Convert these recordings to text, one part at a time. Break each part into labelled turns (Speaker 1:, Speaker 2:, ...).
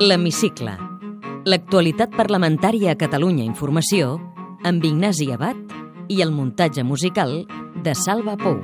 Speaker 1: L'hemicicle. L'actualitat parlamentària a Catalunya Informació amb Ignasi Abad i el muntatge musical de Salva Pou.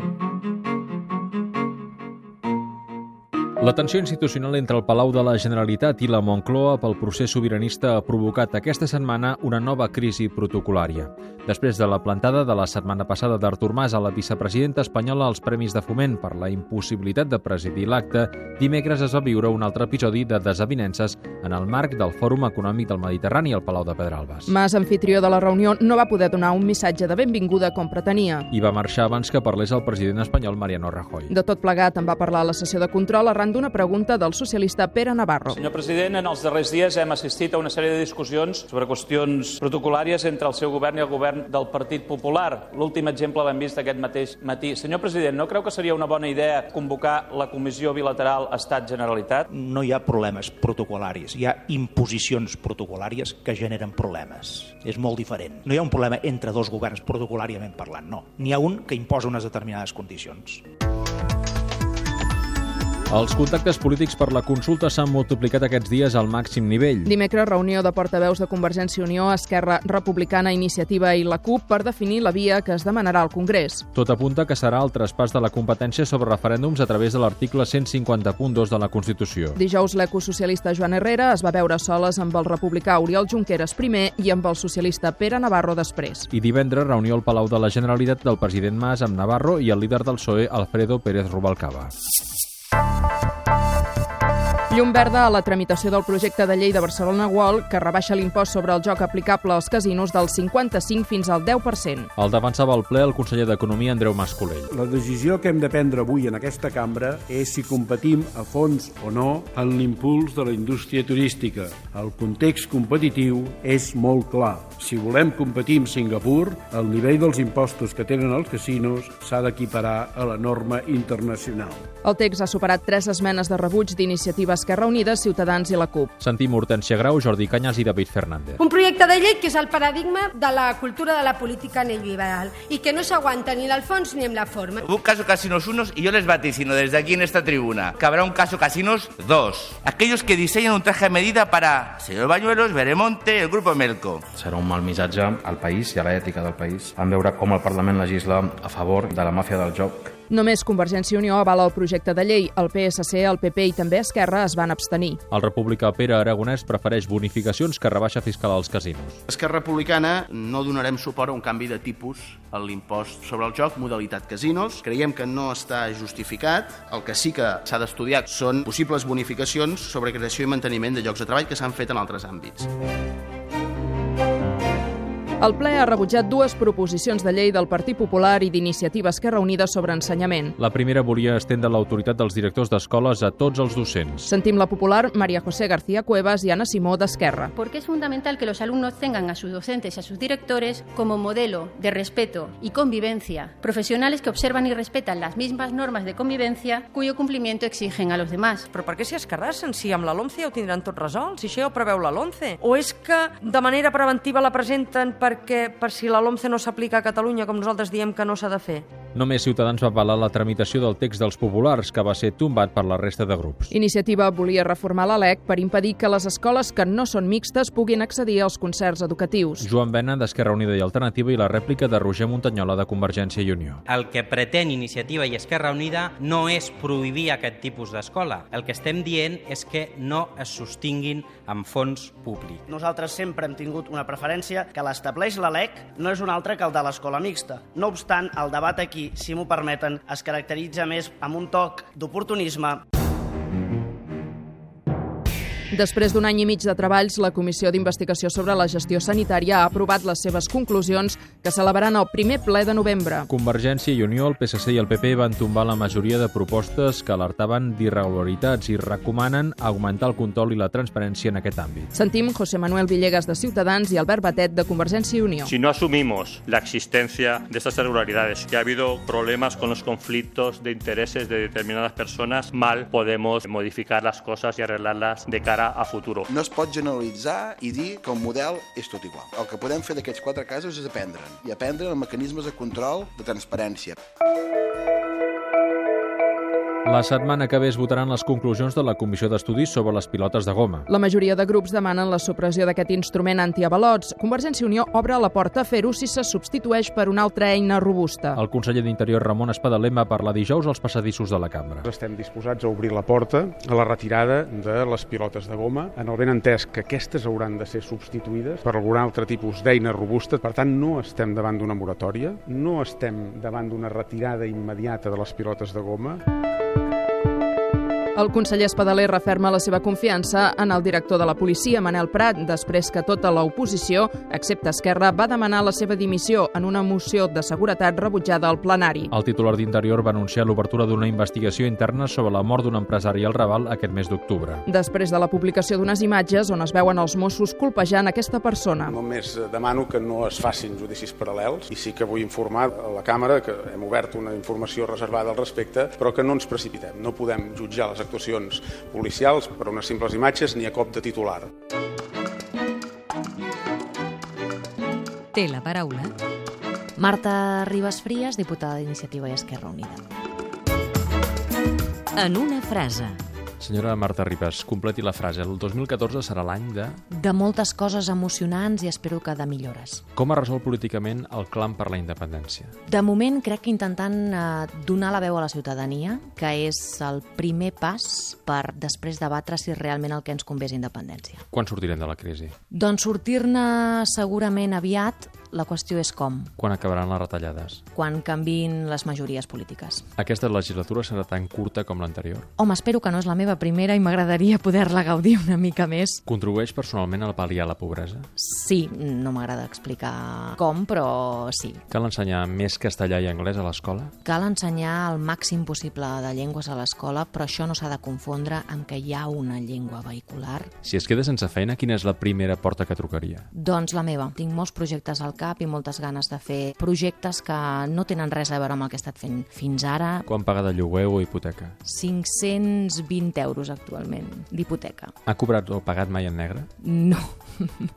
Speaker 2: La tensió institucional entre el Palau de la Generalitat i la Moncloa pel procés sobiranista ha provocat aquesta setmana una nova crisi protocolària. Després de la plantada de la setmana passada d'Artur Mas a la vicepresidenta espanyola als Premis de Foment per la impossibilitat de presidir l'acte, dimecres es va viure un altre episodi de desavinences en el marc del Fòrum Econòmic del Mediterrani al Palau de Pedralbes.
Speaker 3: Mas, anfitrió de la reunió, no va poder donar un missatge de benvinguda com pretenia.
Speaker 2: I va marxar abans que parlés el president espanyol Mariano Rajoy.
Speaker 3: De tot plegat en va parlar a la sessió de control arran d'una pregunta del socialista Pere Navarro.
Speaker 4: Senyor president, en els darrers dies hem assistit a una sèrie de discussions sobre qüestions protocolàries entre el seu govern i el govern del Partit Popular. L'últim exemple l'hem vist aquest mateix matí. Senyor president, no creu que seria una bona idea convocar la comissió bilateral Estat-Generalitat?
Speaker 5: No hi ha problemes protocolaris, hi ha imposicions protocolàries que generen problemes. És molt diferent. No hi ha un problema entre dos governs protocolàriament parlant, no. N'hi ha un que imposa unes determinades condicions.
Speaker 2: Els contactes polítics per la consulta s'han multiplicat aquests dies al màxim nivell.
Speaker 3: Dimecres, reunió de portaveus de Convergència i Unió, Esquerra Republicana, Iniciativa i la CUP per definir la via que es demanarà al Congrés.
Speaker 2: Tot apunta que serà el traspàs de la competència sobre referèndums a través de l'article 150.2 de la Constitució.
Speaker 3: Dijous, l'ecosocialista Joan Herrera es va veure soles amb el republicà Oriol Junqueras primer i amb el socialista Pere Navarro després.
Speaker 2: I divendres, reunió al Palau de la Generalitat del president Mas amb Navarro i el líder del PSOE, Alfredo Pérez Rubalcaba.
Speaker 3: Llum verda a la tramitació del projecte de llei de Barcelona World que rebaixa l'impost sobre el joc aplicable als casinos del 55 fins al 10%.
Speaker 2: El defensava al ple el conseller d'Economia Andreu Mascolell.
Speaker 6: La decisió que hem de prendre avui en aquesta cambra és si competim a fons o no en l'impuls de la indústria turística. El context competitiu és molt clar. Si volem competir amb Singapur, el nivell dels impostos que tenen els casinos s'ha d'equiparar a la norma internacional.
Speaker 3: El text ha superat tres esmenes de rebuig d'iniciatives Esquerra Unida, Ciutadans i la CUP.
Speaker 2: Sentim Hortència Grau, Jordi Canyes i David Fernández.
Speaker 7: Un projecte de llei que és el paradigma de la cultura de la política neoliberal i que no s'aguanta ni en el fons ni en la forma.
Speaker 8: Hubo un caso Casinos unos y yo les vaticino desde aquí en esta tribuna que habrá un caso Casinos 2. Aquellos que diseñan un traje a medida para señor Bañuelos, Beremonte, el grupo Melco.
Speaker 9: Serà un mal missatge al país i a l'ètica del país en veure com el Parlament legisla a favor de la màfia del joc
Speaker 3: Només Convergència i Unió avala el projecte de llei. El PSC, el PP i també Esquerra es van abstenir.
Speaker 2: El republicà Pere Aragonès prefereix bonificacions que rebaixa fiscal als casinos.
Speaker 10: Esquerra Republicana no donarem suport a un canvi de tipus a l'impost sobre el joc, modalitat casinos. Creiem que no està justificat. El que sí que s'ha d'estudiar són possibles bonificacions sobre creació i manteniment de llocs de treball que s'han fet en altres àmbits.
Speaker 3: El ple ha rebutjat dues proposicions de llei del Partit Popular i d'Iniciativa Esquerra Unida sobre ensenyament.
Speaker 2: La primera volia estendre l'autoritat dels directors d'escoles a tots els docents.
Speaker 3: Sentim la popular María José García Cuevas i Ana Simó d'Esquerra.
Speaker 11: Porque es fundamental que los alumnos tengan a sus docentes y a sus directores como modelo de respeto y convivencia, profesionales que observan y respetan las mismas normas de convivencia cuyo cumplimiento exigen a los demás.
Speaker 12: Però per què s'hi escarrassen? Si amb la LOMCE ja ho tindran tot resolt, si això ja ho preveu la LOMCE? O és que de manera preventiva la presenten per perquè per si la LOMCE no s'aplica a Catalunya, com nosaltres diem que no s'ha de fer.
Speaker 2: Només Ciutadans va avalar la tramitació del text dels populars, que va ser tombat per la resta de grups.
Speaker 3: Iniciativa volia reformar la LEC per impedir que les escoles que no són mixtes puguin accedir als concerts educatius.
Speaker 2: Joan Bena, d'Esquerra Unida i Alternativa, i la rèplica de Roger Montanyola, de Convergència i Unió.
Speaker 13: El que pretén Iniciativa i Esquerra Unida no és prohibir aquest tipus d'escola. El que estem dient és que no es sostinguin amb fons públic.
Speaker 14: Nosaltres sempre hem tingut una preferència que l'estableix la LEC no és un altre que el de l'escola mixta. No obstant, el debat aquí si m'ho permeten, es caracteritza més amb un toc d'oportunisme.
Speaker 3: Després d'un any i mig de treballs, la Comissió d'Investigació sobre la Gestió Sanitària ha aprovat les seves conclusions que celebraran el primer ple de novembre.
Speaker 2: Convergència i Unió, el PSC i el PP van tombar la majoria de propostes que alertaven d'irregularitats i recomanen augmentar el control i la transparència en aquest àmbit.
Speaker 3: Sentim José Manuel Villegas de Ciutadans i Albert Batet de Convergència i Unió.
Speaker 15: Si no asumimos la existencia de estas irregularidades, que ha habido problemas con los conflictos de intereses de determinadas personas, mal podemos modificar las cosas y arreglarlas de cara a futuro.
Speaker 16: No es pot generalitzar i dir que el model és tot igual. El que podem fer d'aquests quatre casos és aprendre'n i aprendre mecanismes de control de transparència.
Speaker 2: La La setmana que ve es votaran les conclusions de la Comissió d'Estudis sobre les pilotes de goma.
Speaker 3: La majoria de grups demanen la supressió d'aquest instrument antiavalots. Convergència i Unió obre la porta a fer-ho si se substitueix per una altra eina robusta.
Speaker 2: El conseller d'Interior Ramon Espadaler va parlar dijous als passadissos de la cambra.
Speaker 17: Estem disposats a obrir la porta a la retirada de les pilotes de goma, en el ben entès que aquestes hauran de ser substituïdes per algun altre tipus d'eina robusta. Per tant, no estem davant d'una moratòria, no estem davant d'una retirada immediata de les pilotes de goma.
Speaker 3: El conseller Espadaler referma la seva confiança en el director de la policia, Manel Prat, després que tota l'oposició, excepte Esquerra, va demanar la seva dimissió en una moció de seguretat rebutjada al plenari.
Speaker 2: El titular d'Interior va anunciar l'obertura d'una investigació interna sobre la mort d'un empresari al Raval aquest mes d'octubre.
Speaker 3: Després de la publicació d'unes imatges on es veuen els Mossos colpejant aquesta persona.
Speaker 17: Només demano que no es facin judicis paral·lels i sí que vull informar a la càmera que hem obert una informació reservada al respecte, però que no ens precipitem. No podem jutjar les actuacions policials per unes simples imatges ni a cop de titular.
Speaker 1: Té la paraula
Speaker 18: Marta Ribas Frías, diputada d'Iniciativa i Esquerra Unida.
Speaker 1: en una frase.
Speaker 2: Senyora Marta Ribas, completi la frase. El 2014 serà l'any de...
Speaker 18: De moltes coses emocionants i espero que de millores.
Speaker 2: Com ha resolt políticament el clam per la independència?
Speaker 18: De moment crec que intentant eh, donar la veu a la ciutadania, que és el primer pas per després debatre si realment el que ens convé és independència.
Speaker 2: Quan sortirem de la crisi?
Speaker 18: Doncs sortir-ne segurament aviat, la qüestió és com,
Speaker 2: Quan acabaran les retallades?
Speaker 18: quan canvin les majories polítiques.
Speaker 2: Aquesta legislatura serà tan curta com l'anterior?
Speaker 18: Home, espero que no és la meva primera i m'agradaria poder-la gaudir una mica més.
Speaker 2: Contribueix personalment a pal·liar la pobresa?
Speaker 18: Sí, no m'agrada explicar com, però sí.
Speaker 2: Cal ensenyar més castellà i anglès a l'escola?
Speaker 18: Cal ensenyar el màxim possible de llengües a l'escola, però això no s'ha de confondre amb que hi ha una llengua vehicular.
Speaker 2: Si es queda sense feina, quina és la primera porta que trucaria?
Speaker 18: Doncs la meva. Tinc molts projectes al cap i moltes ganes de fer projectes que no tenen res a veure amb el que he estat fent fins ara.
Speaker 2: Quan paga de lloguer o hipoteca?
Speaker 18: 520 euros actualment d'hipoteca.
Speaker 2: Ha cobrat o pagat mai en negre?
Speaker 18: No.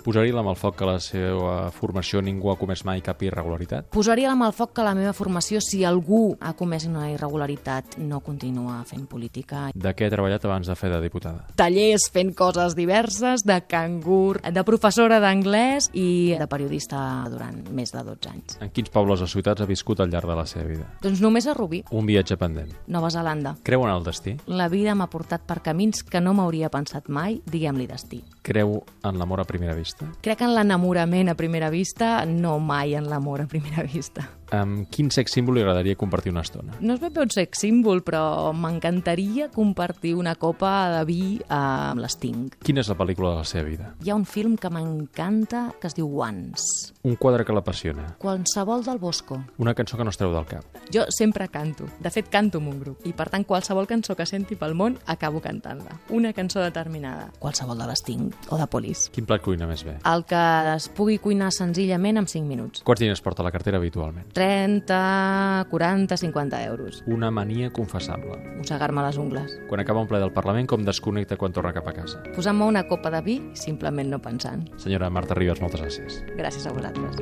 Speaker 2: Posaria la mal foc que la seva formació ningú ha comès mai cap irregularitat?
Speaker 18: Posaria la mà al foc que la meva formació, si algú ha comès una irregularitat, no continua fent política.
Speaker 2: De què ha treballat abans de fer de diputada?
Speaker 18: Tallers fent coses diverses, de cangur, de professora d'anglès i de periodista durant més de 12 anys.
Speaker 2: En quins pobles o ciutats ha viscut al llarg de la seva vida?
Speaker 18: Doncs només a Rubí,
Speaker 2: Un viatge pendent.
Speaker 18: Nova Zelanda.
Speaker 2: Creu en el destí?
Speaker 18: La vida m'ha portat per camins que no m'hauria pensat mai, diguem-li destí.
Speaker 2: Creu en l'amor a primera vista?
Speaker 18: Crec en l'enamorament a primera vista, no mai en l'amor a primera vista.
Speaker 2: Amb quin sex símbol li agradaria compartir una estona?
Speaker 18: No és ben bé un sex símbol, però m'encantaria compartir una copa de vi eh, amb l'Sting.
Speaker 2: Quina és la pel·lícula de la seva vida?
Speaker 18: Hi ha un film que m'encanta que es diu Once.
Speaker 2: Un quadre que l'apassiona.
Speaker 18: Qualsevol del Bosco.
Speaker 2: Una cançó que no es treu del cap.
Speaker 18: Jo sempre canto. De fet, canto amb un grup. I, per tant, qualsevol cançó que senti pel món, acabo cantant-la. Una cançó determinada. Qualsevol de l'Sting o de Polis.
Speaker 2: Quin plat cuina més
Speaker 3: Ah.
Speaker 2: bé?
Speaker 18: El que es pugui cuinar senzillament en 5 minuts.
Speaker 2: Quants diners porta a la cartera habitualment?
Speaker 18: 30, 40, 50 euros.
Speaker 2: Una mania confessable.
Speaker 18: Mossegar-me les ungles.
Speaker 2: Quan acaba un ple del Parlament, com desconnecta quan torna cap a casa?
Speaker 18: Posar-me una copa de vi, simplement no pensant.
Speaker 2: Senyora Marta Ribas, moltes gràcies.
Speaker 18: Gràcies a vosaltres.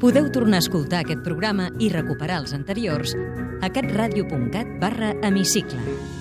Speaker 1: Podeu tornar a escoltar aquest programa i recuperar els anteriors a catradio.cat barra hemicicle.